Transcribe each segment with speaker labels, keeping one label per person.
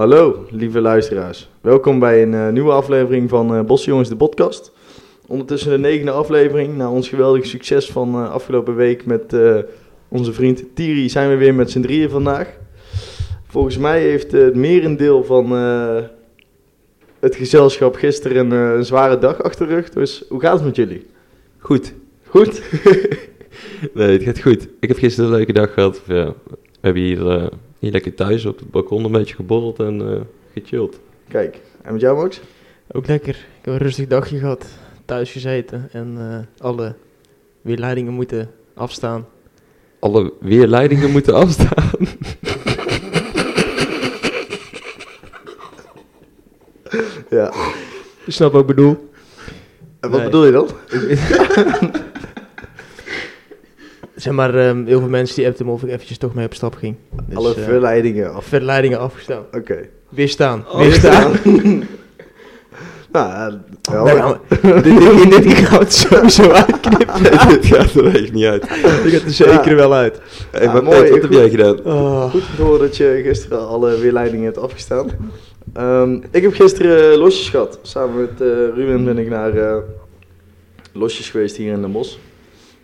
Speaker 1: Hallo, lieve luisteraars. Welkom bij een eh, nieuwe aflevering van eh Bosjongens, de podcast. Ondertussen de negende aflevering. Na ons geweldige succes van eh, afgelopen week met eh, onze vriend Thierry zijn we weer met z'n drieën vandaag. Volgens mij heeft eh, het merendeel van eh, het gezelschap gisteren een, eh, een zware dag achter de rug. Dus hoe gaat het met jullie?
Speaker 2: Goed.
Speaker 1: Goed?
Speaker 2: Nee, het gaat goed. Ik heb gisteren een leuke dag gehad. Ja, we hebben hier, eh, hier lekker thuis op het balkon een beetje geborreld en eh, gechilled.
Speaker 1: Kijk, en met jou Max?
Speaker 3: Ook lekker. Ik heb een rustig dagje gehad. Thuis gezeten en eh, alle weerleidingen moeten afstaan.
Speaker 2: Alle weerleidingen moeten afstaan.
Speaker 1: Ja.
Speaker 3: Je snapt wat ik bedoel?
Speaker 1: En wat
Speaker 3: Nee.
Speaker 1: bedoel je dan?
Speaker 3: Zeg maar, ehm, heel veel mensen die appten me of ik eventjes toch mee op stap ging. Dus,
Speaker 1: Alle
Speaker 3: eh,
Speaker 1: verleidingen af.
Speaker 3: verleidingen afgestaan.
Speaker 1: Oké.
Speaker 3: Weer staan.
Speaker 2: Oh,
Speaker 3: weer
Speaker 2: weer
Speaker 3: staan.
Speaker 1: nou, eh, wel.
Speaker 3: Daar gaan we. dit, ding- dit ding gaan we het sowieso uitknippen.
Speaker 2: Nee, dit gaat er echt niet uit.
Speaker 3: Ik gaat er zeker
Speaker 1: Ja.
Speaker 3: wel uit.
Speaker 2: Hey,
Speaker 1: Ah,
Speaker 2: maar
Speaker 1: mooi,
Speaker 2: Pet, wat
Speaker 1: goed.
Speaker 2: heb jij gedaan?
Speaker 3: Oh.
Speaker 1: Goed te horen dat je gisteren alle weerleidingen hebt afgestaan. Ehm, ik heb gisteren eh, losjes gehad. Samen met eh, Ruben ben ik naar eh, losjes geweest hier in Den Bosch.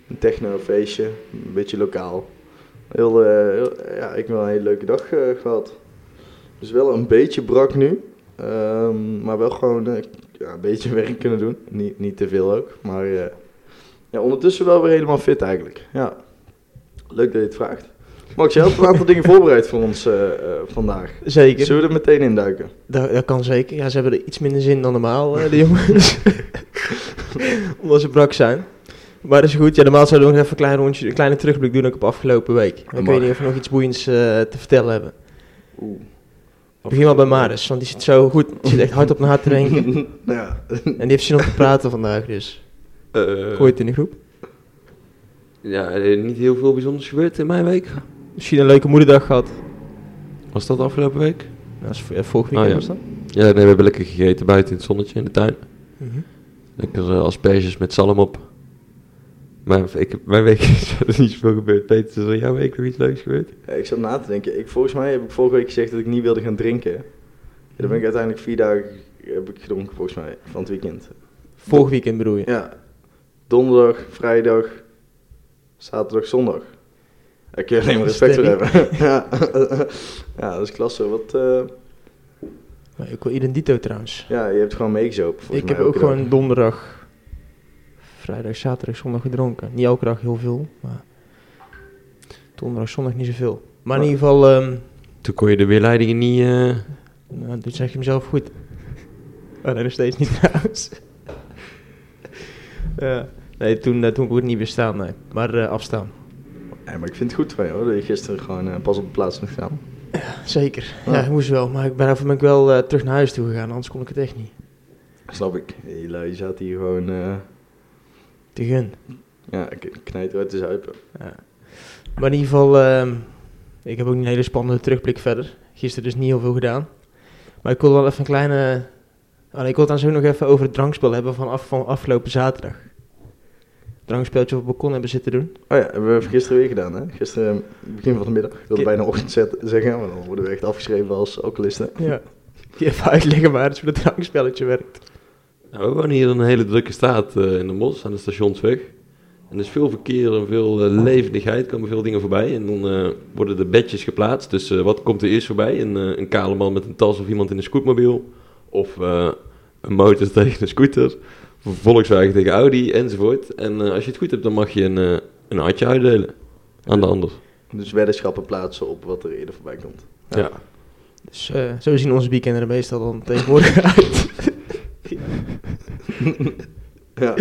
Speaker 1: Een technofeestje, een beetje lokaal. Heel, eh, heel- ja, ik heb wel een hele leuke dag eh, gehad. Dus wel een beetje brak nu. Ehm, maar wel gewoon eh, ja, een beetje werk kunnen doen. Niet, niet te veel ook. Maar eh, ja, ondertussen wel weer helemaal fit eigenlijk. Ja. Leuk dat je het vraagt. Max, je hebt een aantal dingen voorbereid voor ons eh, eh, vandaag.
Speaker 3: Zeker.
Speaker 1: Zullen we er meteen induiken?
Speaker 3: Dat, dat kan zeker. Ja, ze hebben er iets minder zin dan normaal, eh, de jongens. Omdat ze brak zijn. Maar dat is goed. Ja, normaal zouden we nog even een klein rondje, een kleine terugblik doen ook op afgelopen week. Ik
Speaker 1: Mag.
Speaker 3: weet niet of we nog iets boeiends eh, te vertellen hebben.
Speaker 1: Oeh.
Speaker 3: Ik begin wel bij Maris, want die zit zo goed. Die zit echt hard op haar te drinken.
Speaker 1: ja.
Speaker 3: En die heeft zin om te praten vandaag, dus
Speaker 2: Eh,
Speaker 3: gooi het in de groep.
Speaker 2: Ja, er is niet heel veel bijzonders gebeurd in mijn week.
Speaker 3: Misschien een leuke moederdag gehad.
Speaker 2: Was dat afgelopen week?
Speaker 3: Nou, dat is v- eh, vorig weekend
Speaker 2: Oh, ja.
Speaker 3: was dat.
Speaker 2: Ja, nee, we hebben lekker gegeten buiten in het zonnetje in de tuin.
Speaker 3: Mhm.
Speaker 2: Lekker eh, asperges met zalm op. Maar ik, heb- mijn week is verder niet zoveel gebeurd. Peter, is er jouw week nog iets leuks gebeurd?
Speaker 1: Ja, ik zat na te denken. Ik, volgens mij heb ik vorige week gezegd dat ik niet wilde gaan drinken. Ja, dan
Speaker 3: Mhm.
Speaker 1: ben ik uiteindelijk vier dagen heb ik gedronken, volgens mij, van het weekend.
Speaker 3: Vorig weekend bedoel je?
Speaker 1: Ja. Donderdag, vrijdag, zaterdag, zondag. Daar kun je alleen maar respect voor
Speaker 3: Sterk.
Speaker 1: hebben. ja. ja, dat is klasse. Wat, eh,
Speaker 3: Maar ik wil identito trouwens.
Speaker 1: ja, je hebt gewoon meegezopen, volgens
Speaker 3: ik
Speaker 1: mij
Speaker 3: heb ook
Speaker 1: elke dag.
Speaker 3: gewoon donderdag, vrijdag, zaterdag, zondag gedronken. Niet elke dag heel veel, maar donderdag, zondag niet zoveel. Maar in
Speaker 1: Maar-
Speaker 3: ieder geval, ehm,
Speaker 2: Toen kon je de weerleidingen niet... eh,
Speaker 3: nou, dit zeg je hem zelf goed. Oh, nee, nog steeds niet trouwens. ja. Nee, toen, eh, toen kon ik het niet weer staan, nee. Maar eh, afstaan.
Speaker 1: Nee, maar ik vind het goed van je, hoor, dat je gisteren gewoon eh, pas op de plaats bent gaan.
Speaker 3: Zeker.
Speaker 1: Ja.
Speaker 3: Ja, ik moest wel. Maar ik ben, daarvoor ben ik wel eh, terug naar huis toe gegaan, anders kon ik het echt niet.
Speaker 1: Snap ik. Je, lui, je zat hier gewoon eh
Speaker 3: Te gun.
Speaker 1: ja, k- knijt uit te zuipen.
Speaker 3: Ja. Maar in ieder geval, ehm, ik heb ook niet een hele spannende terugblik verder. Gisteren dus niet heel veel gedaan. Maar ik wil wel even een kleine... ah, nee, ik wil het dan zo nog even over het drankspel hebben van, af, van afgelopen zaterdag. Drankspeeltje op het balkon hebben zitten doen.
Speaker 1: Oh ja, hebben we gisteren weer gedaan, hè? Gisteren, eh, begin van de middag. Ik wilde
Speaker 3: Ki-
Speaker 1: bijna ochtend zet- zeggen, maar dan worden we echt afgeschreven als alcoholisten.
Speaker 3: Ja. Even uitleggen waar het voor het drankspelletje werkt.
Speaker 2: Nou, we wonen hier in een hele drukke straat eh, in de Mos, aan de stationsweg. En er is veel verkeer en veel eh, levendigheid, komen veel dingen voorbij. En dan eh, worden de bedjes geplaatst. Dus eh, wat komt er eerst voorbij? Een, eh, een kale man met een tas of iemand in een scootmobiel. Of eh, een motor tegen een scooter. Of een Volkswagen tegen Audi, enzovoort. En eh, als je het goed hebt, dan mag je een, eh, een hartje uitdelen aan de ander.
Speaker 1: Dus weddenschappen plaatsen op wat er eerder voorbij komt.
Speaker 2: Ja.
Speaker 3: Dus eh, zo zien onze weekenden er meestal dan tegenwoordig uit.
Speaker 1: Ja,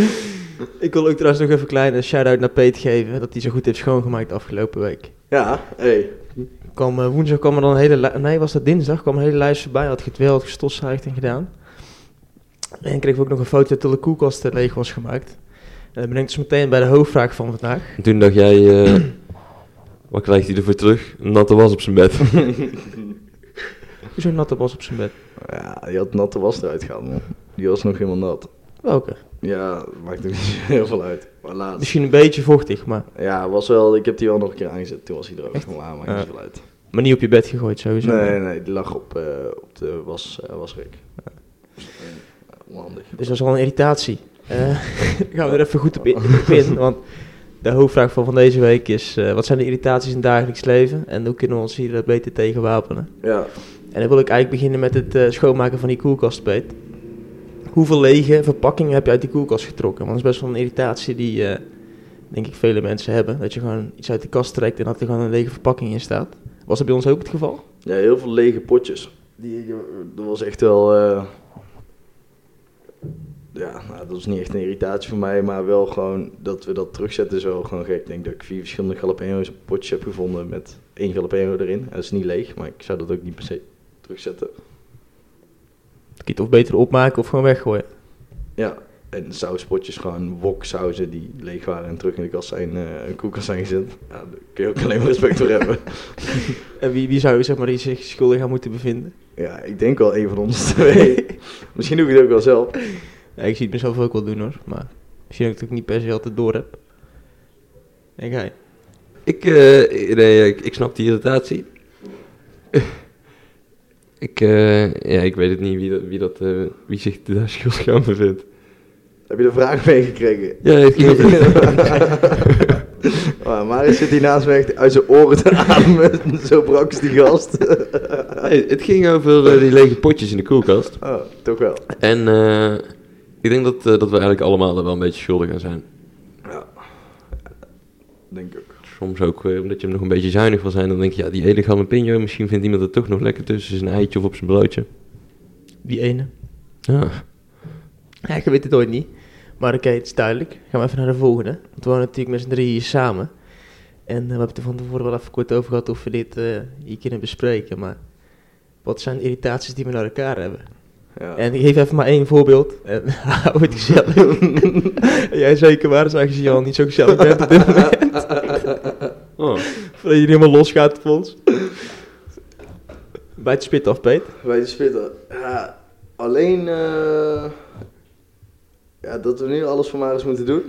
Speaker 3: ik wil ook trouwens nog even een kleine shout-out naar Peet geven. Dat hij zo goed heeft schoongemaakt afgelopen week.
Speaker 1: ja hey.
Speaker 3: kwam, eh, woensdag kwam er dan een hele li- Nee, was dat dinsdag? kwam een hele lijst voorbij. Had getweld, gestofzuigd en gedaan. En kregen we ook nog een foto dat de koelkast eh, leeg was gemaakt. En dan ben ik dus meteen bij de hoofdvraag van vandaag.
Speaker 2: En toen dacht jij, eh, wat krijgt hij ervoor terug? Een natte was op zijn bed.
Speaker 3: Hoezo natte was op zijn bed?
Speaker 1: Ja, je had natte was eruit gehaald, man. Die was nog helemaal nat.
Speaker 3: Welke?
Speaker 1: Ja, maakt er niet heel veel uit. Maar laatst.
Speaker 3: Misschien een beetje vochtig, maar...
Speaker 1: Ja, was wel, ik heb die wel nog een keer aangezet. Toen was hij er ook
Speaker 3: Echt?
Speaker 1: nog aan, maakt niet
Speaker 3: Ja.
Speaker 1: veel uit.
Speaker 3: Maar niet op je bed gegooid sowieso.
Speaker 1: Nee, nee, die lag op, eh, op de was, eh, wasrek. Eh, Onhandig.
Speaker 3: Dus dat is al een irritatie. Eh, gaan we er even goed op in, op in, want de hoofdvraag van, van deze week is... eh, wat zijn de irritaties in het dagelijks leven en hoe kunnen we ons hier eh, beter tegen wapenen?
Speaker 1: Ja,
Speaker 3: En dan wil ik eigenlijk beginnen met het eh, schoonmaken van die koelkast, Peet. Hoeveel lege verpakkingen heb je uit die koelkast getrokken? Want dat is best wel een irritatie die, eh, denk ik, vele mensen hebben. Dat je gewoon iets uit de kast trekt en dat er gewoon een lege verpakking in staat. Was dat bij ons ook het geval?
Speaker 1: ja heel veel lege potjes. Die, eh, dat was echt wel... eh, ja, nou, dat is niet echt een irritatie voor mij, maar wel gewoon dat we dat terugzetten is wel gewoon gek. Ik denk dat ik vier verschillende jalapeno's op potjes heb gevonden met één jalapeno erin. En dat is niet leeg, maar ik zou dat ook niet per se terugzetten.
Speaker 3: Dat kun je het of beter opmaken of gewoon weggooien.
Speaker 1: Ja, en sauspotjes gewoon woksauzen die leeg waren en terug in de kast zijn, eh, koelkast zijn gezet. Ja, daar kun je ook alleen maar respect voor hebben.
Speaker 3: En wie, wie zou je zeg maar die zich schuldig aan moeten bevinden?
Speaker 1: Ja, ik denk wel een van ons twee. Misschien doe ik het ook wel zelf.
Speaker 3: Ja, ik zie het mezelf ook wel doen hoor, maar misschien dat ik het ook niet per se altijd door heb. Denk jij?
Speaker 2: Ik, eh, nee, ik, ik snap die irritatie. ik, eh, ja, ik weet het niet wie, dat, wie, dat, eh, wie zich daar schuldig aan bevindt.
Speaker 1: Heb je de vraag meegekregen?
Speaker 2: Ja, het ging Oh,
Speaker 1: Maar Oh, Marius zit hier
Speaker 2: nou-
Speaker 1: naast me echt uit zijn oren te ademen. Zo brak is die gast.
Speaker 2: Nee, het ging over eh, die lege potjes in de koelkast.
Speaker 1: Oh, toch wel.
Speaker 2: En eh, ik denk dat, eh, dat we eigenlijk allemaal er wel een beetje schuldig aan zijn.
Speaker 1: Ja, denk ik ook.
Speaker 2: Soms ook eh, omdat je hem nog een beetje zuinig wil zijn. Dan denk je, ja, die hele jalapeno, misschien vindt iemand het toch nog lekker tussen zijn eitje of op zijn broodje.
Speaker 3: Die ene.
Speaker 2: Ja.
Speaker 3: Ja, ik weet het ooit niet. Maar oké, het is duidelijk. Gaan we even naar de volgende. Want we wonen natuurlijk met z'n drieën hier samen. En eh, we hebben het er van tevoren wel even kort over gehad of we dit eh, hier kunnen bespreken. Maar wat zijn irritaties die we naar elkaar hebben?
Speaker 1: Ja.
Speaker 3: En ik geef even maar één voorbeeld. En hou het gezellig. Jij zeker waar, is aangezien je al niet zo gezellig bent op dit moment.
Speaker 2: Oh.
Speaker 3: Voordat je helemaal losgaat op ons. Bij het spit af, Peet.
Speaker 1: Bij de spitter. Ja, alleen eh, ja, dat we nu alles voor Marius moeten doen.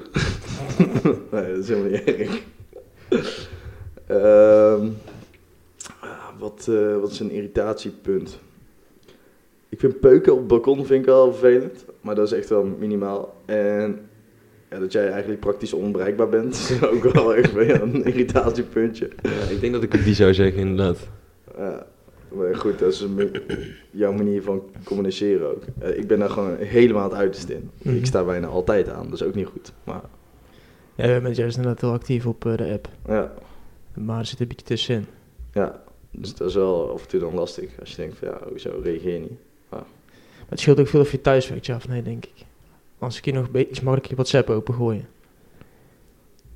Speaker 1: nee, dat is helemaal niet erg. Ehm, ah, wat, eh, wat is een irritatiepunt? Ik vind peuken op het balkon vind ik wel vervelend, maar dat is echt wel minimaal. En ja, dat jij eigenlijk praktisch onbereikbaar bent, is ook wel echt weer een irritatiepuntje.
Speaker 2: Ja, ik denk dat ik ook die zou zeggen, inderdaad.
Speaker 1: Ja, Eh, maar goed, dat is een be- jouw manier van communiceren ook. Eh, ik ben daar gewoon helemaal het uiterste in.
Speaker 3: Mhm.
Speaker 1: Ik sta bijna altijd aan, dat is ook niet goed. Maar
Speaker 3: Ja, we zijn juist inderdaad heel actief op eh, de app.
Speaker 1: ja,
Speaker 3: Maar er zit een beetje tussenin.
Speaker 1: ja. Dus dat is wel af en toe dan lastig. Als je denkt van ja, hoezo reageer je niet?
Speaker 3: Maar het scheelt ook veel of je thuis werkt, ja of nee, denk ik. Als ik hier nog een beetje iets makkelijker WhatsApp opengooien.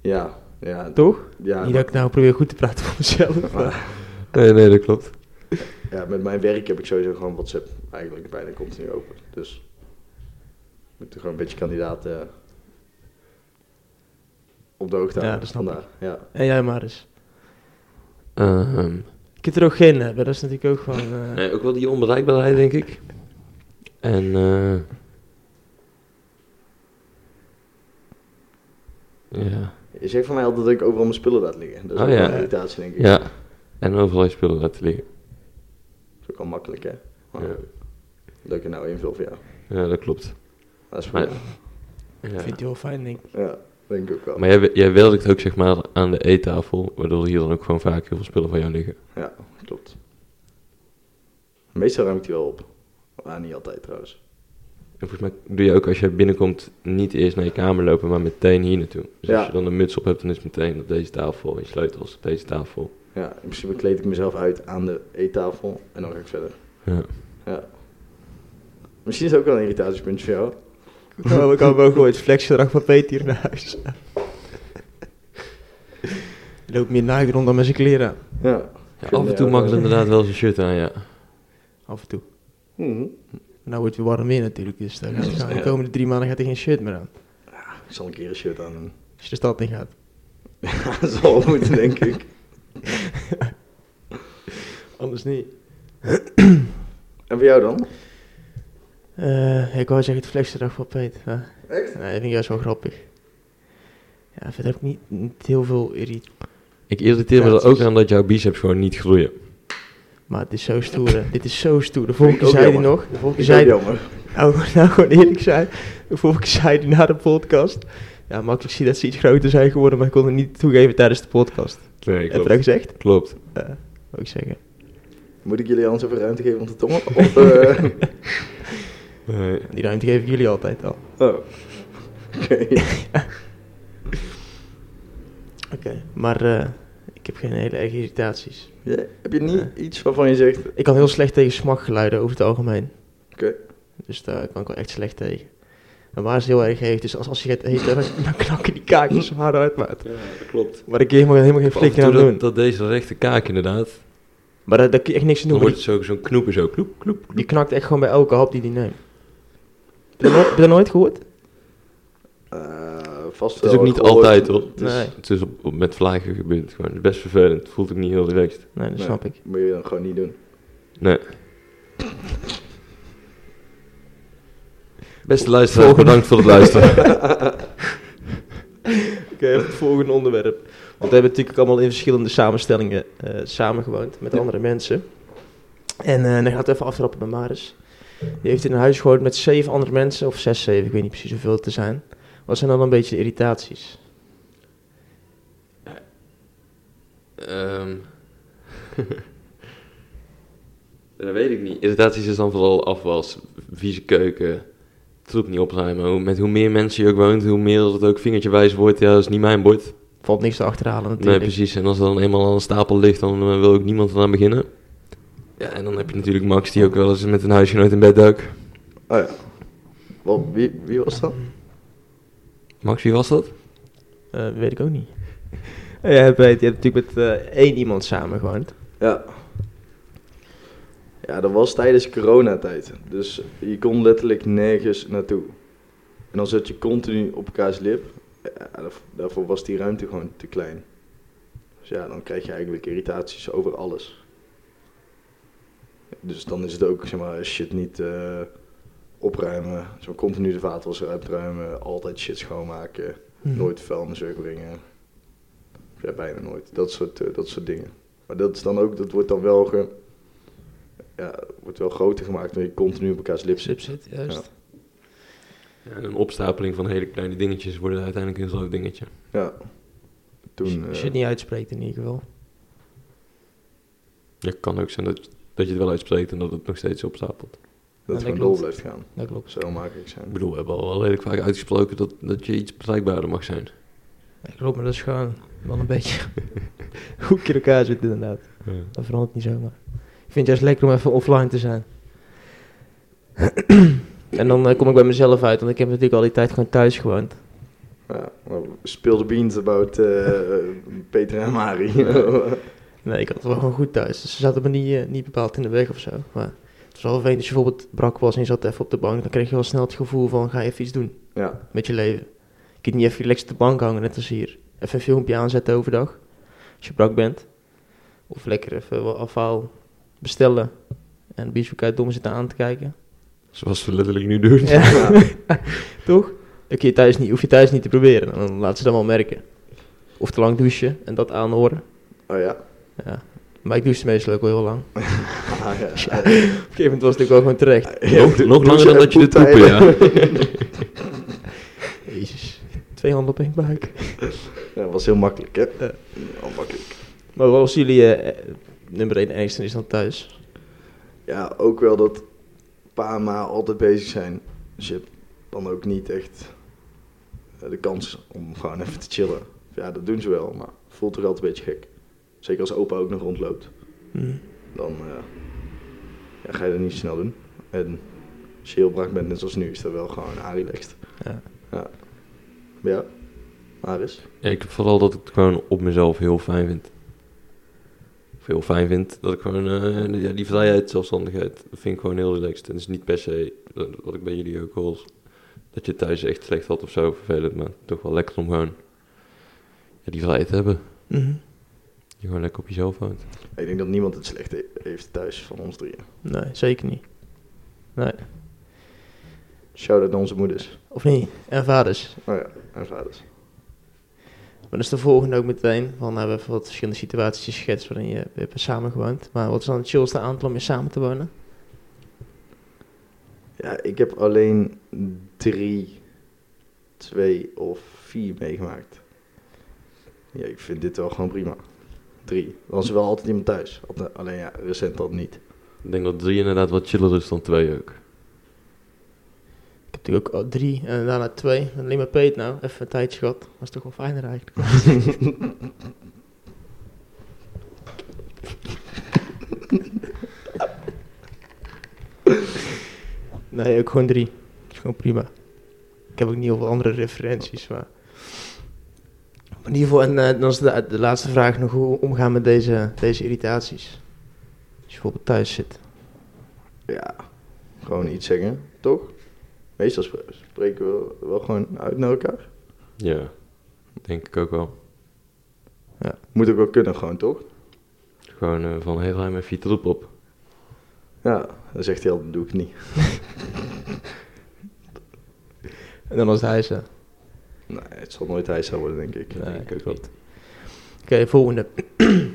Speaker 1: Ja, ja.
Speaker 3: Toch?
Speaker 1: ja,
Speaker 3: Niet dat ik nou probeer goed te praten voor mezelf. Maar.
Speaker 2: Nee, nee, dat klopt.
Speaker 1: ja, met mijn werk heb ik sowieso gewoon WhatsApp eigenlijk bijna continu open. Dus ik moet er gewoon een beetje kandidaat eh, op de hoogte
Speaker 3: Ja,
Speaker 1: houden
Speaker 3: dat snap ik.
Speaker 1: vandaag. Ja.
Speaker 3: En jij maar eens.
Speaker 2: Ehm,
Speaker 3: Je kunt er ook geen hebben, dat is natuurlijk ook gewoon... eh,
Speaker 2: nee, ook wel die onbereikbaarheid, denk ik. En eh, ja.
Speaker 1: Je zegt van mij altijd dat ik overal mijn spullen laat liggen. Dat is ook
Speaker 2: Oh,
Speaker 1: wel
Speaker 2: ja.
Speaker 1: een irritatie denk ik.
Speaker 2: ja, en overal je spullen laten liggen.
Speaker 1: Dat is ook al makkelijk, hè? Maar
Speaker 2: Ja,
Speaker 1: Dat ik er nou invul voor jou.
Speaker 2: ja dat klopt.
Speaker 1: Dat is
Speaker 2: Maar-
Speaker 1: goed.
Speaker 2: Ja.
Speaker 3: Vind je wel fijn, denk ik.
Speaker 1: Ja, denk ik ook wel.
Speaker 2: Maar jij, jij werkt ook zeg maar aan de eettafel, waardoor hier dan ook gewoon vaak heel veel spullen van jou liggen.
Speaker 1: Ja, klopt. Meestal ruim ik die wel op. Maar niet altijd trouwens.
Speaker 2: En volgens mij doe je ook als jij binnenkomt niet eerst naar je kamer lopen, maar meteen hier naartoe. Dus
Speaker 1: Ja.
Speaker 2: als je dan een muts op hebt, dan is het meteen op deze tafel, en je sleutels op deze tafel.
Speaker 1: Ja, in principe kleed ik mezelf uit aan de eettafel en dan ga ik verder.
Speaker 2: Ja.
Speaker 1: Ja. Misschien is het ook wel een irritatiepuntje voor jou.
Speaker 3: Oh, ik kan ook gewoon het flexgedrag van Peter hier naar huis. Hij loopt meer naakt rond dan met zijn kleren aan.
Speaker 1: Ja.
Speaker 2: Ja, af en toe mag het inderdaad wel zijn shirt aan, ja.
Speaker 3: Af en toe.
Speaker 1: Mhm.
Speaker 3: Nou wordt het weer warm weer natuurlijk, dus dan gaat het gaan. de komende drie maanden gaat hij geen shirt meer aan.
Speaker 1: Ik zal een keer een shirt aan doen.
Speaker 3: Als je de stad in gaat.
Speaker 1: Ja, dat zal wel moeten, denk ik.
Speaker 3: Anders niet.
Speaker 1: En voor jou dan?
Speaker 3: Eh, ik wou zeggen het flexgedrag van Peter. Ja.
Speaker 1: Echt?
Speaker 3: Nee, dat vind ik juist wel grappig. Ja, verder heb ik niet, niet heel veel irrit.
Speaker 2: Ik irriteer me er ook aan dat jouw biceps gewoon niet groeien.
Speaker 3: Maar het is zo stoer. hè. Dit is zo stoer. De vorige
Speaker 1: ik
Speaker 3: keer
Speaker 1: ook
Speaker 3: zei hij
Speaker 1: jammer.
Speaker 3: nog. De vorige keer
Speaker 1: Ik zei
Speaker 3: zei
Speaker 1: jammer.
Speaker 3: Nou, nou gewoon eerlijk zijn. De vorige keer zei hij na de podcast. Ja, makkelijk zie dat ze iets groter zijn geworden, maar ik kon het niet toegeven tijdens de podcast.
Speaker 2: Nee,
Speaker 3: Heb je dat
Speaker 2: klopt.
Speaker 3: gezegd?
Speaker 2: Klopt.
Speaker 3: Eh, wou ik zeggen.
Speaker 1: Moet ik jullie anders even ruimte geven om te tongen? Of, eh,
Speaker 2: Nee.
Speaker 3: Die ruimte geef ik jullie altijd al.
Speaker 1: oh. Oké.
Speaker 3: Oké. Maar eh, ik heb geen hele erge irritaties.
Speaker 1: Ja, heb je niet iets waarvan je zegt,
Speaker 3: Ik kan heel slecht tegen smakgeluiden over het algemeen.
Speaker 1: Oké.
Speaker 3: Dus daar kan ik wel echt slecht tegen. En waar ze heel erg heeft, is als, als je het heet, dan, dan knakken die kaakjes zo hard uit, maat.
Speaker 2: Ja, dat klopt.
Speaker 3: Maar ik kan helemaal, helemaal geen
Speaker 2: Af en
Speaker 3: flikker
Speaker 2: toe
Speaker 3: aan doen.
Speaker 2: dat, dat deze rechte kaak inderdaad.
Speaker 3: Maar daar, daar kun je echt niks aan
Speaker 2: Dan
Speaker 3: doen.
Speaker 2: wordt
Speaker 3: Die,
Speaker 2: het zo, zo'n knoep en zo. Knoep, knoep, knoep.
Speaker 3: die knakt echt gewoon bij elke hap die die neemt. Heb je dat nooit- heb je dat nooit gehoord?
Speaker 1: eh, vast
Speaker 2: Het is
Speaker 1: wel
Speaker 2: ook niet
Speaker 1: gehoord.
Speaker 2: altijd hoor. Het is,
Speaker 3: Nee.
Speaker 2: het is op, op- met vlagen gebeurd. Gewoon. Het is best vervelend. Voelt ook niet heel relaxed.
Speaker 3: Nee, dat
Speaker 1: Nee.
Speaker 3: snap ik.
Speaker 1: Moet je dan gewoon niet doen.
Speaker 2: Nee. Beste luisteraars,
Speaker 3: Volgende.
Speaker 2: bedankt voor het luisteren.
Speaker 3: Oké, even het volgende onderwerp. Want we hebben natuurlijk allemaal in verschillende samenstellingen eh, samengewoond met
Speaker 1: Ja.
Speaker 3: andere mensen. En eh, dan gaat het even aftrappen bij Maris. Die heeft in een huis gewoond met zeven andere mensen, of zes, zeven, ik weet niet precies hoeveel het er zijn. Wat zijn dan een beetje de irritaties?
Speaker 2: Ehm. Ja, dat weet ik niet. Irritaties is dan vooral afwas, vieze keuken, troep niet opruimen. Hoe- Met hoe meer mensen je ook woont, hoe meer het ook vingertjewijs wordt. Ja, dat is niet mijn bord.
Speaker 3: Valt niks te achterhalen
Speaker 2: Nee,
Speaker 3: natuurlijk.
Speaker 2: precies. En als er dan eenmaal aan een stapel ligt, dan eh, wil ook niemand eraan beginnen. Ja, en dan heb je natuurlijk Max, die ook wel eens met een huisgenoot in bed duikt.
Speaker 1: Oh ja. Wat, wie, wie was dat?
Speaker 2: Max, wie was dat?
Speaker 3: Eh, weet ik ook niet. Ja, je hebt, je hebt natuurlijk met eh, één iemand samengewoond.
Speaker 1: Ja. Ja, dat was tijdens coronatijd. Dus je kon letterlijk nergens naartoe. En dan zat je continu op elkaars lip. Ja, daarv- daarvoor was die ruimte gewoon te klein. Dus ja, dan krijg je eigenlijk irritaties over alles. Dus dan is het ook, zeg maar, shit niet eh, opruimen. Zo continu de vaatwasser uitruimen. Altijd shit schoonmaken.
Speaker 2: Mhm.
Speaker 1: Hmm. Nooit vuilnis wegbrengen. Ja, bijna nooit. Dat soort, eh, dat soort dingen. Maar dat is dan ook, dat wordt dan wel, ge, ja, wordt wel groter gemaakt wanneer je continu op elkaars lip zit.
Speaker 3: Subset,
Speaker 1: juist.
Speaker 2: Ja, en een opstapeling van hele kleine dingetjes worden uiteindelijk een groot dingetje.
Speaker 1: Ja. Toen,
Speaker 3: Als
Speaker 1: eh,
Speaker 3: je het niet uitspreekt in ieder geval.
Speaker 2: Ja, kan ook zijn dat, dat je het wel uitspreekt en dat het nog steeds opstapelt.
Speaker 1: dat
Speaker 3: dat
Speaker 1: het gewoon
Speaker 3: klopt.
Speaker 1: door blijft gaan.
Speaker 3: Dat klopt.
Speaker 1: Zo makkelijk
Speaker 2: Ik
Speaker 1: zijn.
Speaker 2: bedoel, we hebben al wel redelijk vaak uitgesproken dat, dat je iets bereikbaarder mag zijn.
Speaker 3: Ja, klopt, maar dat is dus gewoon wel een beetje hoe ik in elkaar zit inderdaad. Dat verandert niet zomaar. Ik vind het juist lekker om even offline te zijn. en dan eh, kom ik bij mezelf uit, want ik heb natuurlijk al die tijd gewoon thuis gewoond.
Speaker 1: Ja, well, spill the beans about eh, Peter en Mari.
Speaker 3: Nee, ik had het wel gewoon goed thuis. Dus ze zaten me niet, eh, niet bepaald in de weg of zo. Maar het was wel vervelend als je bijvoorbeeld brak was en je zat even op de bank. Dan kreeg je wel snel het gevoel van, ga even iets doen
Speaker 1: ja,
Speaker 3: met je leven. Je kunt niet even relaxed op de bank hangen, net als hier. Even een filmpje aanzetten overdag, als je brak bent. Of lekker even wat afhaal bestellen. En bij elkaar dom zitten aan te kijken.
Speaker 2: Zoals we letterlijk nu doen.
Speaker 3: Ja. Toch? Dan kun je thuis niet, hoef je thuis niet te proberen. Dan laten ze dan wel merken. Of te lang douchen en dat aanhoren.
Speaker 1: oh ja.
Speaker 3: Ja. Maar ik douche meestal ook wel heel lang. Op
Speaker 1: Ah, ja.
Speaker 3: een gegeven moment was het ook wel gewoon terecht.
Speaker 1: Ja,
Speaker 2: nog
Speaker 1: doe-
Speaker 2: nog
Speaker 1: doe
Speaker 2: langer dan
Speaker 1: ze
Speaker 2: dat je de
Speaker 1: even
Speaker 2: toepen, ja.
Speaker 3: Jezus. Twee handen op één buik.
Speaker 1: Ja, dat was heel makkelijk, hè?
Speaker 3: Ja.
Speaker 1: Heel makkelijk.
Speaker 3: Maar wat was jullie eh, eh, nummer één ergste is dan thuis?
Speaker 1: Ja, ook wel dat pa en ma altijd bezig zijn. Dus je hebt dan ook niet echt eh, de kans om gewoon even te chillen. Ja, dat doen ze wel, maar het voelt toch altijd een beetje gek. Zeker als opa ook nog rondloopt.
Speaker 3: Hm.
Speaker 1: Dan eh, ja, ga je dat niet snel doen. En als je heel brak bent, net zoals nu, is dat wel gewoon relaxed.
Speaker 3: Ja.
Speaker 1: Ja. Ja. Maris?
Speaker 2: Ja, ik heb vooral dat ik het gewoon op mezelf heel fijn vind. Of heel fijn vind. Dat ik gewoon, eh, die- ja, die vrijheid, zelfstandigheid, dat vind ik gewoon heel relaxed. En het is niet per se, eh, wat ik bij jullie ook hoor, dat je thuis echt slecht had of zo, vervelend. Maar toch wel lekker om gewoon ja, die vrijheid te hebben.
Speaker 3: Mhm.
Speaker 2: Dat Je gewoon lekker op jezelf woont.
Speaker 1: Ik denk dat niemand het slecht he- heeft thuis van ons drieën.
Speaker 3: Nee, zeker niet. Nee.
Speaker 1: Shout-out naar onze moeders.
Speaker 3: Of niet? En vaders.
Speaker 1: Oh ja, en vaders.
Speaker 3: Maar dat is de volgende ook meteen. Van, nou, we hebben even wat verschillende situaties geschetst waarin je hebt samengewoond. Maar wat is dan het chillste aantal om je samen te wonen?
Speaker 1: Ja, ik heb alleen drie, twee of vier meegemaakt. Ja, ik vind dit wel gewoon prima. Drie. Dan is er wel altijd iemand thuis. Al- Alleen ja, recent dat niet.
Speaker 2: Ik denk dat drie inderdaad wat chiller is dan twee ook.
Speaker 3: Ik heb natuurlijk ook al drie en daarna twee. En alleen maar Peet nou. Even een tijdje gehad. Dat is toch wel fijner eigenlijk. nee, ook gewoon drie. is gewoon prima. Ik heb ook niet heel veel andere referenties, maar... Maar in ieder geval, en eh, dan is de, de laatste vraag nog hoe omgaan met deze, deze irritaties. Als je bijvoorbeeld thuis zit.
Speaker 1: Ja, gewoon iets zeggen, toch? Meestal spre- spreken we wel gewoon uit naar elkaar.
Speaker 2: Ja, denk ik ook wel.
Speaker 1: Moet ook wel kunnen, gewoon, toch?
Speaker 2: Gewoon eh, van, hey, ruim even je troep op.
Speaker 1: Ja, dan zegt hij altijd, doe ik het niet.
Speaker 3: En dan als hij ze.
Speaker 1: Nee, het zal nooit hij worden, denk ik.
Speaker 3: Nee,
Speaker 1: Denk ik ook
Speaker 3: ik niet. Oké, volgende.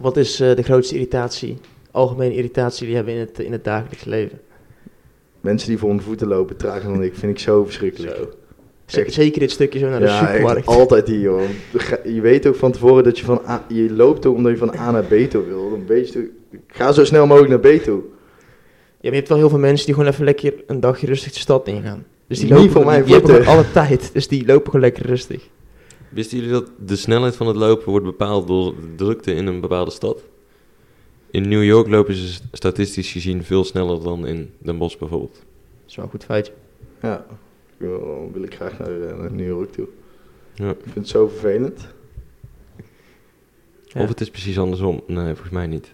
Speaker 3: Wat is eh, de grootste irritatie, algemene irritatie die je hebben in het, in het dagelijks leven?
Speaker 1: Mensen die voor hun voeten lopen, trager dan ik, vind ik zo verschrikkelijk.
Speaker 3: Z-
Speaker 1: Echt.
Speaker 3: Zeker dit stukje zo naar de
Speaker 1: ja, echt
Speaker 3: supermarkt.
Speaker 1: altijd die, joh. Je weet ook van tevoren dat je van A, je loopt ook omdat je van A naar B toe wil. Dan weet je, toch, ik ga zo snel mogelijk naar B toe.
Speaker 3: Ja, maar je hebt wel heel veel mensen die gewoon even lekker een dagje rustig de stad ingaan. Dus die
Speaker 1: Niet
Speaker 3: lopen
Speaker 1: voor
Speaker 3: gewoon-
Speaker 1: mij
Speaker 3: die hebben
Speaker 1: voeten.
Speaker 3: gewoon alle tijd. Dus die lopen gewoon lekker rustig.
Speaker 2: Wisten jullie dat de snelheid van het lopen wordt bepaald door de drukte in een bepaalde stad? In New York lopen ze statistisch gezien veel sneller dan in Den Bosch bijvoorbeeld.
Speaker 3: Dat is wel een goed feitje.
Speaker 1: Ja, ik wil, wil ik graag naar, eh, naar New York toe.
Speaker 2: Ja.
Speaker 1: Ik vind het zo vervelend.
Speaker 3: Ja.
Speaker 2: Of het is precies andersom. Nee, volgens mij niet.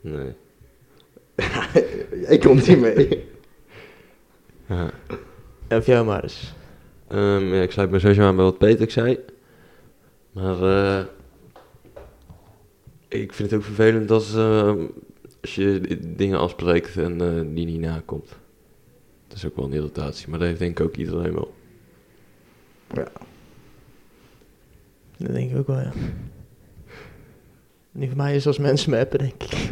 Speaker 2: Nee.
Speaker 1: Jij komt niet mee.
Speaker 2: Ja.
Speaker 3: Of jou maar eens.
Speaker 2: Ehm, ja, ik sluit me sowieso aan bij wat Peter ik zei. Maar eh, ik vind het ook vervelend als, ehm, als je d- dingen afspreekt en eh, die niet nakomt. Dat is ook wel een irritatie, maar dat heeft denk ik ook iedereen wel.
Speaker 3: Dat denk ik ook wel, ja. Nu voor mij is als mensen me appen, denk ik.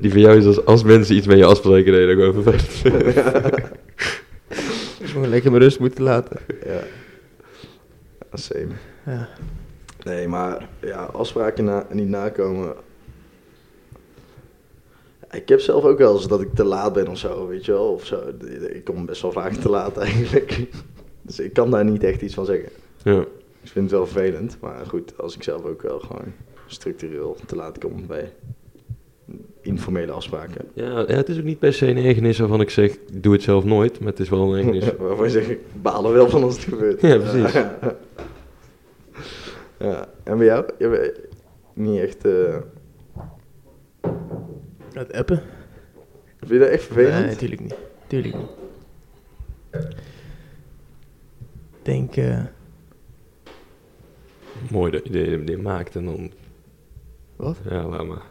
Speaker 2: Die van jou is als, als mensen iets met je afspreken, dat je dat gewoon vervelend vindt.
Speaker 3: Dus gewoon lekker mijn rust moeten laten.
Speaker 1: ja. Ja, Same.
Speaker 3: Ja.
Speaker 1: Nee, maar ja, afspraken na, niet nakomen. Ik heb zelf ook wel eens dat ik te laat ben of zo, weet je wel. Of zo. Ik kom best wel vaak te laat eigenlijk. Dus ik kan daar niet echt iets van zeggen.
Speaker 2: Ja.
Speaker 1: Ik vind het wel vervelend, maar goed, als ik zelf ook wel gewoon structureel te laat kom bij informele afspraken.
Speaker 2: Ja, ja, het is ook niet per se een ergernis waarvan ik zeg, doe het zelf nooit, maar het is wel een ergernis.
Speaker 1: Waarvan je zegt, ik baal er wel van als het gebeurt.
Speaker 2: Ja, precies.
Speaker 1: ja, en bij jou? Je bent niet echt... eh,
Speaker 3: Het appen?
Speaker 1: Vind je dat echt vervelend?
Speaker 3: Nee, natuurlijk niet. Tuurlijk niet. Ik denk, eh,
Speaker 2: Mooi dat je dit- dit maakt en dan...
Speaker 3: Wat?
Speaker 2: Ja, laat maar.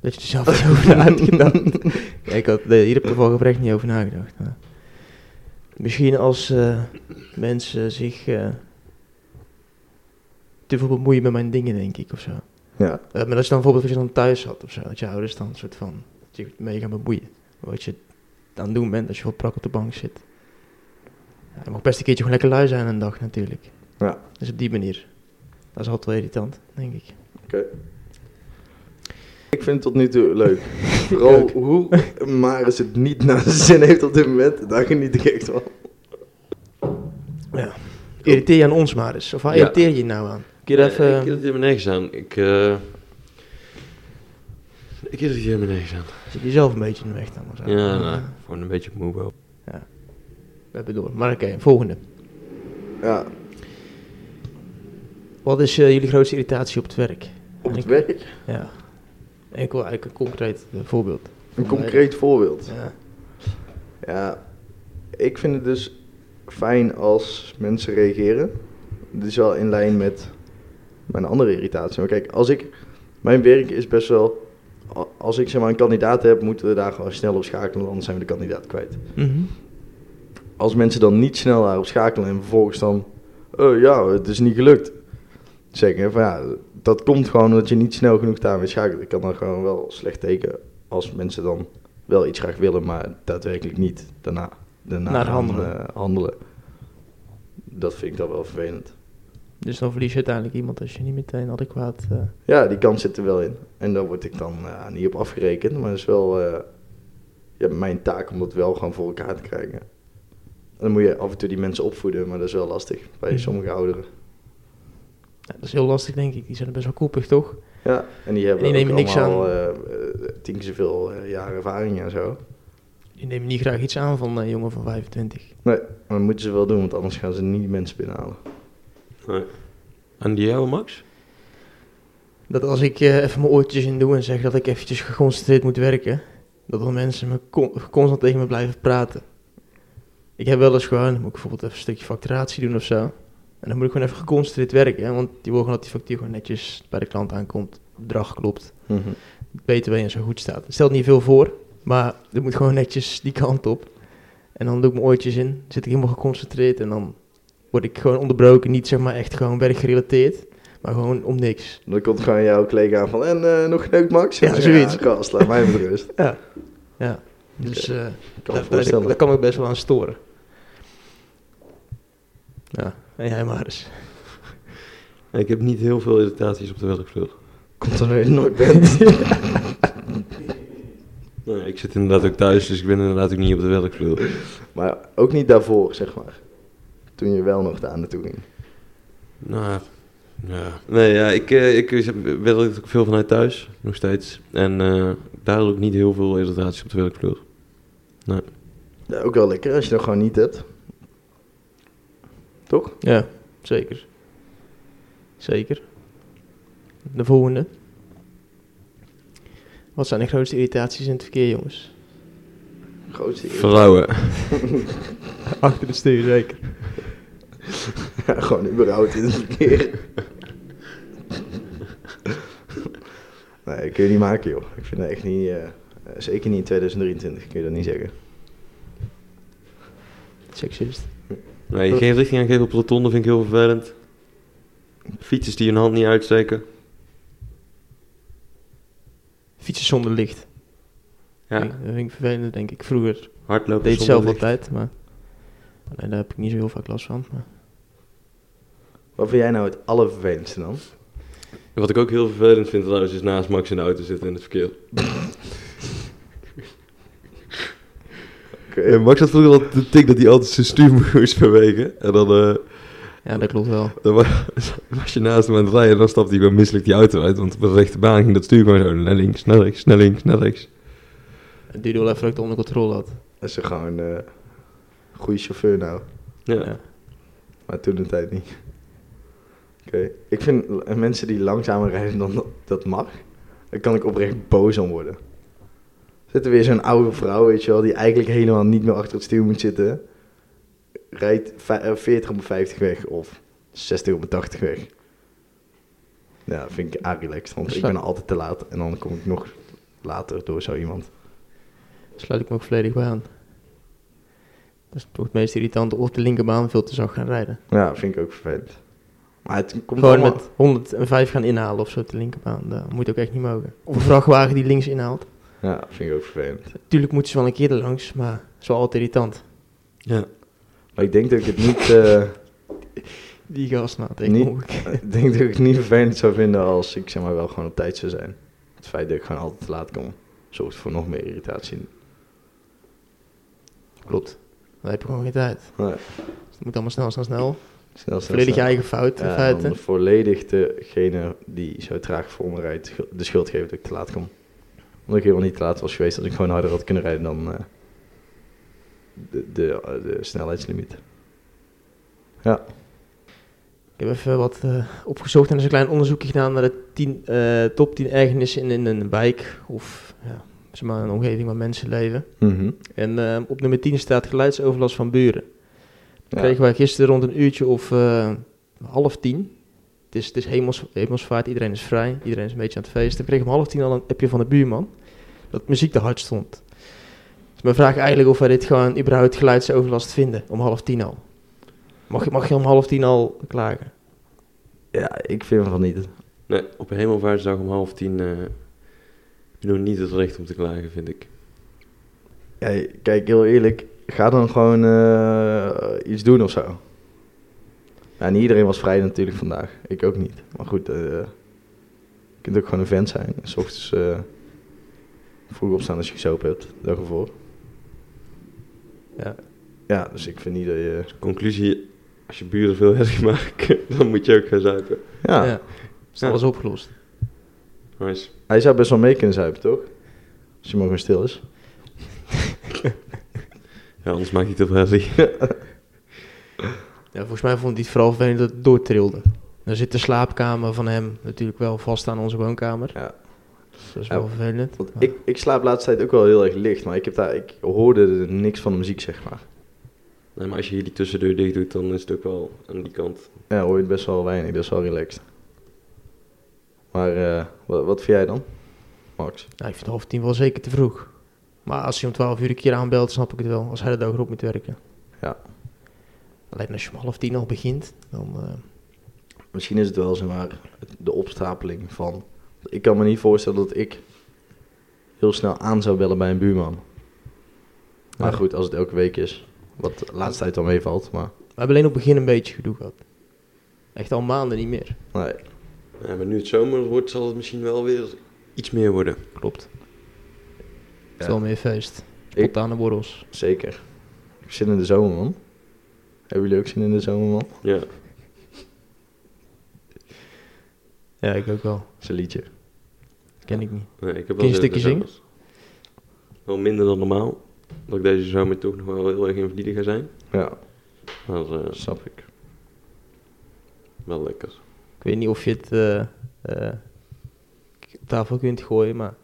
Speaker 3: dat je er zelf niet over na had gedacht. ja, ik had nee, hier op de vorige echt niet over nagedacht. maar Misschien als eh, mensen zich eh, te veel bemoeien met mijn dingen, denk ik, of zo.
Speaker 1: Ja.
Speaker 3: Eh, maar als je dan bijvoorbeeld als je dan thuis zat of zo, dat je ouders dan een soort van zich mee gaan bemoeien. Wat je aan het doen bent als je wel prak op de bank zit. Ja, je mag best een keertje gewoon lekker lui zijn een dag natuurlijk.
Speaker 1: Ja.
Speaker 3: Dus op die manier. Dat is altijd wel irritant, denk ik.
Speaker 1: Ik vind het tot nu toe leuk. Vooral hoe Maris het niet naar zijn zin heeft op dit moment, daar geniet ik echt van.
Speaker 3: Ja. Irriteer je aan ons maar eens. Of waar
Speaker 2: Ja.
Speaker 3: irriteer je je nou aan? Kun je
Speaker 2: Nee,
Speaker 3: daar
Speaker 2: Eh, Ik
Speaker 3: even...
Speaker 2: irriteer me nergens aan. Ik, eh ik irriteer me nergens aan.
Speaker 3: Zit jezelf een beetje in de weg dan of zo?
Speaker 2: Ja, nou, gewoon een beetje moe wel.
Speaker 3: We hebben door. Maar oké, volgende.
Speaker 1: Ja,
Speaker 3: Wat is eh, jullie grootste irritatie op het werk?
Speaker 1: op het
Speaker 3: Ik-
Speaker 1: werk.
Speaker 3: Ja. Ik wil eigenlijk een concreet eh, voorbeeld.
Speaker 1: Een concreet voorbeeld.
Speaker 3: Ja.
Speaker 1: Ja, ik vind het dus fijn als mensen reageren. Dit is wel in lijn met mijn andere irritatie. Maar kijk, als ik. Mijn werk is best wel. a- Als ik zeg maar een kandidaat heb, moeten we daar gewoon snel op schakelen, want anders zijn we de kandidaat kwijt.
Speaker 3: Mhm.
Speaker 1: Als mensen dan niet snel daarop schakelen en vervolgens dan eh, ja, het is niet gelukt. Zeggen van ja, dat komt gewoon omdat je niet snel genoeg daarmee schakelt. Ik kan dan gewoon wel slecht tekenen als mensen dan wel iets graag willen, maar daadwerkelijk niet daarna, daarna
Speaker 3: Naar
Speaker 1: gaan,
Speaker 3: handelen.
Speaker 1: eh, handelen. Dat vind ik dan wel vervelend.
Speaker 3: Dus dan verlies je uiteindelijk iemand als je niet meteen adequaat... eh,
Speaker 1: Ja, die kans zit er wel in. En daar word ik dan eh, niet op afgerekend, maar het is wel eh, ja, mijn taak om dat wel gewoon voor elkaar te krijgen. En dan moet je af en toe die mensen opvoeden, maar dat is wel lastig bij
Speaker 3: Mhm.
Speaker 1: sommige ouderen.
Speaker 3: ja, dat is heel lastig, denk ik. Die zijn best wel koppig, toch?
Speaker 1: Ja, en die hebben
Speaker 3: En die
Speaker 1: ook
Speaker 3: nemen niks
Speaker 1: allemaal eh, eh, tien keer zoveel eh, jaar ervaring en zo.
Speaker 3: Die nemen niet graag iets aan van eh, een jongen van 25.
Speaker 1: Nee, maar dat moeten ze wel doen, want anders gaan ze niet mensen binnenhalen.
Speaker 2: En die jou, Max?
Speaker 3: Dat als ik eh, even mijn oortjes in doe en zeg dat ik eventjes geconcentreerd moet werken, dat dan mensen me con- constant tegen me blijven praten. Ik heb wel eens gewoon, dan moet ik bijvoorbeeld even een stukje facturatie doen of zo. En dan moet ik gewoon even geconcentreerd werken, hè, want die wil gewoon dat die factuur gewoon netjes bij de klant aankomt, het bedrag klopt, het BTW en zo goed staat. Het stelt niet veel voor, maar het moet gewoon netjes die kant op. En dan doe ik mijn oortjes in, zit ik helemaal geconcentreerd en dan word ik gewoon onderbroken, niet zeg maar echt gewoon werkgerelateerd, maar gewoon om niks.
Speaker 1: Dan komt gewoon jouw collega aan van, en eh, nog geneukt Max?
Speaker 3: Ja,
Speaker 1: En dan,
Speaker 3: zoiets.
Speaker 1: Ja, gast, laat mij met rust. Ik
Speaker 3: Ja. ja. Dus eh
Speaker 1: kan
Speaker 3: daar-
Speaker 1: me
Speaker 3: daar,
Speaker 1: voorstellen.
Speaker 3: daar kan ik best wel aan storen. Ja, en jij maar eens.
Speaker 2: Ik heb niet heel veel irritaties op de werkvloer.
Speaker 1: Komt er nu nooit bent.
Speaker 2: Nee, ik zit inderdaad ook thuis, dus ik ben inderdaad ook niet op de werkvloer.
Speaker 1: maar ook niet daarvoor, zeg maar. Toen je wel nog daar naartoe ging.
Speaker 2: Nou, ja. Nee, ja, ik, eh, ik werk ook veel vanuit thuis, nog steeds. En eh, daar ook niet heel veel irritaties op de werkvloer.
Speaker 1: Ja, ook wel lekker als je dat gewoon niet hebt. Toch?
Speaker 3: Ja, zeker. Zeker. De volgende. Wat zijn de grootste irritaties in het verkeer, jongens?
Speaker 1: Grootste eer.
Speaker 2: Vrouwen.
Speaker 3: Achter het stuur, zeker.
Speaker 1: Ja, gewoon überhaupt in het verkeer. nee, dat kun je niet maken, joh. Ik vind dat echt niet... eh, eh, zeker niet in 2023, kun je dat niet zeggen.
Speaker 3: Seksist.
Speaker 2: Nee, geen richting aangeven op rotonde vind ik heel vervelend. Fietsers die hun hand niet uitsteken.
Speaker 3: Fietsen zonder licht.
Speaker 2: Ja,
Speaker 3: Dat vind ik vervelend, denk ik. Vroeger Ik
Speaker 2: hardlopen
Speaker 3: deed het
Speaker 2: zonder
Speaker 3: zelf
Speaker 2: licht.
Speaker 3: altijd, maar... maar nee, daar heb ik niet zo heel vaak last van. Maar...
Speaker 1: Wat vind jij nou het allervervelendste dan?
Speaker 2: Wat ik ook heel vervelend vind trouwens, is naast Max in de auto zitten in het verkeer.
Speaker 1: Oké.
Speaker 2: Eh, Max had vroeger al de tik dat hij altijd zijn stuur moest bewegen. En dan, eh,
Speaker 3: Ja, dat klopt wel.
Speaker 2: dan wa- was je naast hem aan het rijden en dan stapte hij gewoon misselijk die auto uit. Want op de rechte baan ging dat stuur gewoon zo naar links, naar rechts, naar links, naar rechts.
Speaker 3: Het duurde wel even dat ik het onder controle had.
Speaker 1: Dat is gewoon een goede chauffeur nou.
Speaker 2: Ja.
Speaker 3: Ja.
Speaker 1: Maar toen de tijd niet. Oké. Ik vind l- mensen die langzamer rijden dan dat- dat mag, daar kan ik oprecht boos om worden. Zit er weer zo'n oude vrouw, weet je wel, die eigenlijk helemaal niet meer achter het stuur moet zitten. Rijdt vij- eh, 40 op 50 weg of 60 op 80 weg. Ja, dat vind ik aanrelaxed, want ik ben altijd te laat en dan kom ik nog later door zo iemand.
Speaker 3: sluit ik me ook volledig bij aan. Dat is toch het meest irritante, of de linkerbaan veel te zacht gaan rijden.
Speaker 1: Ja, dat vind ik ook vervelend. Maar het komt
Speaker 3: Gewoon
Speaker 1: allemaal-
Speaker 3: met 105 gaan inhalen of zo op de linkerbaan, dat moet ook echt niet mogen. Of een vrachtwagen die links inhaalt.
Speaker 1: Ja, dat vind ik ook vervelend.
Speaker 3: Natuurlijk moeten ze wel een keer er langs, maar het is wel altijd irritant.
Speaker 2: Ja.
Speaker 1: Maar ik denk dat ik het niet... eh,
Speaker 3: Die nou, gast na
Speaker 1: Niet-
Speaker 3: tegen
Speaker 1: Ik denk dat ik het niet vervelend zou vinden als ik zeg maar wel gewoon op tijd zou zijn. Het feit dat ik gewoon altijd te laat kom, zorgt voor nog meer irritatie.
Speaker 3: Klopt. Dan heb je gewoon geen tijd.
Speaker 1: Nee,
Speaker 3: Dus het moet allemaal snel, snel, snel.
Speaker 1: snel, snel,
Speaker 3: Volledig je
Speaker 1: snel.
Speaker 3: eigen fout in
Speaker 1: Ja,
Speaker 3: feite.
Speaker 1: dan volledig degene die zo traag voor me rijdt ge- de schuld geven dat ik te laat kom. Omdat ik helemaal niet te laat was geweest, dat ik gewoon harder had kunnen rijden dan eh, de, de, eh, de snelheidslimiet. Ja,
Speaker 3: Ik heb even wat eh, opgezocht en er is een klein onderzoekje gedaan naar de 10, eh, top 10 ergernissen in, in een wijk of ja, zeg maar een omgeving waar mensen leven.
Speaker 1: Mhm.
Speaker 3: En eh, op nummer 10 staat geluidsoverlast van buren.
Speaker 1: ja.
Speaker 3: Kregen wij gisteren rond een uurtje of eh, half tien. Het is, het is hemels, hemelsvaart, iedereen is vrij, iedereen is een beetje aan het feesten. We kregen om half tien al een appje van de buurman dat muziek te hard stond. Dus mijn vraag eigenlijk of wij dit gewoon überhaupt geluidsoverlast vinden, om half tien al. Mag je, mag je om half tien al klagen?
Speaker 1: Ja, ik vind van niet.
Speaker 2: Nee, op een hemelvaartsdag om half tien eh, heb je nog niet het recht om te klagen, vind ik. Dus
Speaker 1: Ja, kijk, heel eerlijk, ga dan gewoon eh, iets doen of zo. Ja, niet iedereen was vrij natuurlijk vandaag. Ik ook niet. Maar goed, eh, je kunt ook gewoon een vent zijn. En 's ochtends eh, vroeg opstaan als je gezopen hebt, dag ervoor.
Speaker 3: Ja.
Speaker 1: Ja, dus ik vind niet dat je...
Speaker 2: Conclusie, als je buren veel herrie maken, dan moet je ook gaan zuipen.
Speaker 1: Ja,
Speaker 3: Is alles Dus opgelost?
Speaker 2: Nice.
Speaker 1: hij zou best wel mee kunnen zuipen, toch? Als hij maar gewoon stil is.
Speaker 2: Ja, anders maak je te veel herrie.
Speaker 3: Ja, volgens mij vond hij het vooral vervelend dat het doortrilde. Dan zit de slaapkamer van hem natuurlijk wel vast aan onze woonkamer.
Speaker 1: Ja.
Speaker 3: Dus dat is
Speaker 1: Ja.
Speaker 3: wel vervelend.
Speaker 1: Want
Speaker 3: Maar-
Speaker 1: ik, ik slaap de laatste tijd ook wel heel erg licht, maar ik, heb daar, ik hoorde er niks van de muziek, zeg maar.
Speaker 2: Nee, maar als je hier die tussendeur dicht doet, dan is het ook wel aan die kant.
Speaker 1: Ja, hoor je het best wel weinig, dat is wel relaxed. Maar eh, wat, wat vind jij dan, Max?
Speaker 3: Nou, ik vind half tien wel zeker te vroeg. Maar als hij om twaalf uur een keer aanbelt, snap ik het wel. Als hij de dag erop moet werken.
Speaker 1: Ja.
Speaker 3: Alleen als je om half tien al begint, dan... eh,
Speaker 1: Misschien is het wel zeg maar, het- de opstapeling van. Ik kan me niet voorstellen dat ik heel snel aan zou bellen bij een buurman. Maar
Speaker 3: Nee.
Speaker 1: goed, als het elke week is, wat de laatste tijd dan meevalt, maar
Speaker 3: We hebben alleen op het begin een beetje gedoe gehad. Echt al maanden niet meer.
Speaker 1: nee.
Speaker 2: Ja, maar nu het zomer wordt, zal het misschien wel weer iets meer worden.
Speaker 3: Klopt.
Speaker 1: Ja.
Speaker 3: Veel meer feest. Spontane borrels.
Speaker 1: Zeker. Ik heb zin in de zomer, man. Hebben jullie ook zin in de zomer, man?
Speaker 2: Ja.
Speaker 3: Ja, ik ook wel.
Speaker 1: Dat is een liedje.
Speaker 3: Ken ik niet.
Speaker 2: Nee, ik heb
Speaker 3: Kun je een
Speaker 2: zin in de
Speaker 3: stukje zingen?
Speaker 2: zomers. Wel minder dan normaal. Dat ik deze zomer toch nog wel heel erg invalide ga zijn.
Speaker 1: Ja,
Speaker 2: Maar eh,
Speaker 1: dat snap ik.
Speaker 2: wel lekker.
Speaker 3: Ik weet niet of je het eh, eh, op tafel kunt gooien, maar...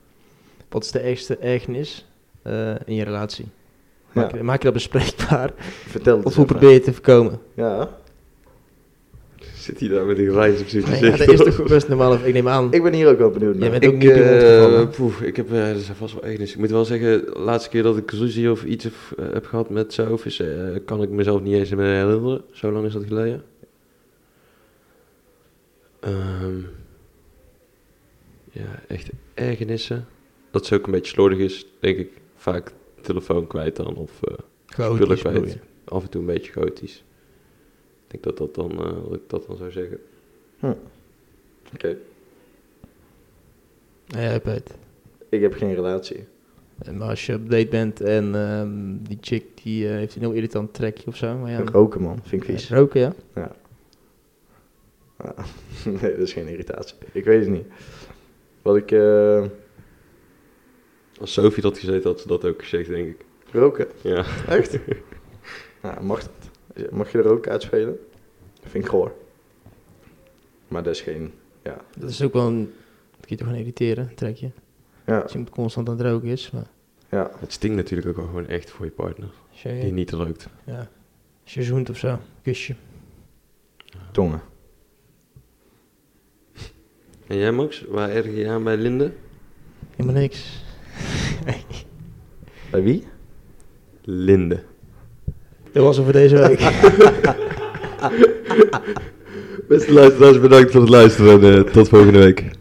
Speaker 3: Wat is de ergste ergernis eh, in je relatie? Maak,
Speaker 1: Ja,
Speaker 3: je, maak je dat bespreekbaar?
Speaker 1: vertel het eens
Speaker 3: Of hoe
Speaker 1: even.
Speaker 3: probeer je het te voorkomen?
Speaker 1: Ja.
Speaker 2: Zit hij daar met die reis op zijn
Speaker 3: Nee, ja,
Speaker 2: gezicht,
Speaker 3: dat is
Speaker 2: hoor.
Speaker 3: toch best normaal. Ik neem aan.
Speaker 1: Ik ben hier ook wel benieuwd naar.
Speaker 3: Jij bent ook
Speaker 2: Ik,
Speaker 3: niet bij ons
Speaker 2: eh
Speaker 3: gevallen.
Speaker 2: poef, ik heb, eh, er zijn vast wel ergens. Ik moet wel zeggen, de laatste keer dat ik ruzie of iets heb, eh, heb gehad met Sof, is, eh, kan ik mezelf niet eens meer herinneren. Zo lang is dat geleden. Ehm, ja, echt ergernissen. Dat ze ook een beetje slordig is, denk ik. Vaak telefoon kwijt dan of eh, spullen
Speaker 3: Chaotisch bedoel
Speaker 2: kwijt.
Speaker 3: je.
Speaker 2: Af en toe een beetje chaotisch. Ik denk dat, dat, dan, eh, dat ik dat dan zou zeggen.
Speaker 1: Oké.
Speaker 3: Ja, jij hebt het.
Speaker 1: Ik heb geen relatie.
Speaker 3: En Maar als je op date bent en ehm, die chick die eh, heeft een heel irritant trekje of zo. Maar ja,
Speaker 1: Roken, man. Vind ik vies.
Speaker 3: Ja, roken, ja.
Speaker 1: Ah, nee, dat is geen irritatie. Ik weet het niet. Wat ik... eh,
Speaker 2: Als Sophie dat gezeten had, had ze dat ook gezegd, denk ik.
Speaker 1: roken.
Speaker 2: Ja.
Speaker 1: Echt? nou, mag dat? Mag je er ook uitspelen? Dat vind ik goor. Maar dat is geen... Ja.
Speaker 3: Dat is ook wel een... Dat kun je toch gewoon irriteren, een trekje.
Speaker 1: Ja.
Speaker 3: Als je moet constant aan het roken is. Maar
Speaker 1: Ja.
Speaker 2: Het stinkt natuurlijk ook wel gewoon echt voor je partner.
Speaker 3: als je,
Speaker 2: Die niet rookt.
Speaker 3: ja, als je zoent of zo, kusje.
Speaker 1: Tongen.
Speaker 2: En jij Max, waar erg je aan bij Linde?
Speaker 3: Helemaal niks.
Speaker 1: Bij wie?
Speaker 2: Linde.
Speaker 3: Dat was het voor deze week.
Speaker 2: Beste luisteraars, bedankt voor het luisteren en eh, tot volgende week.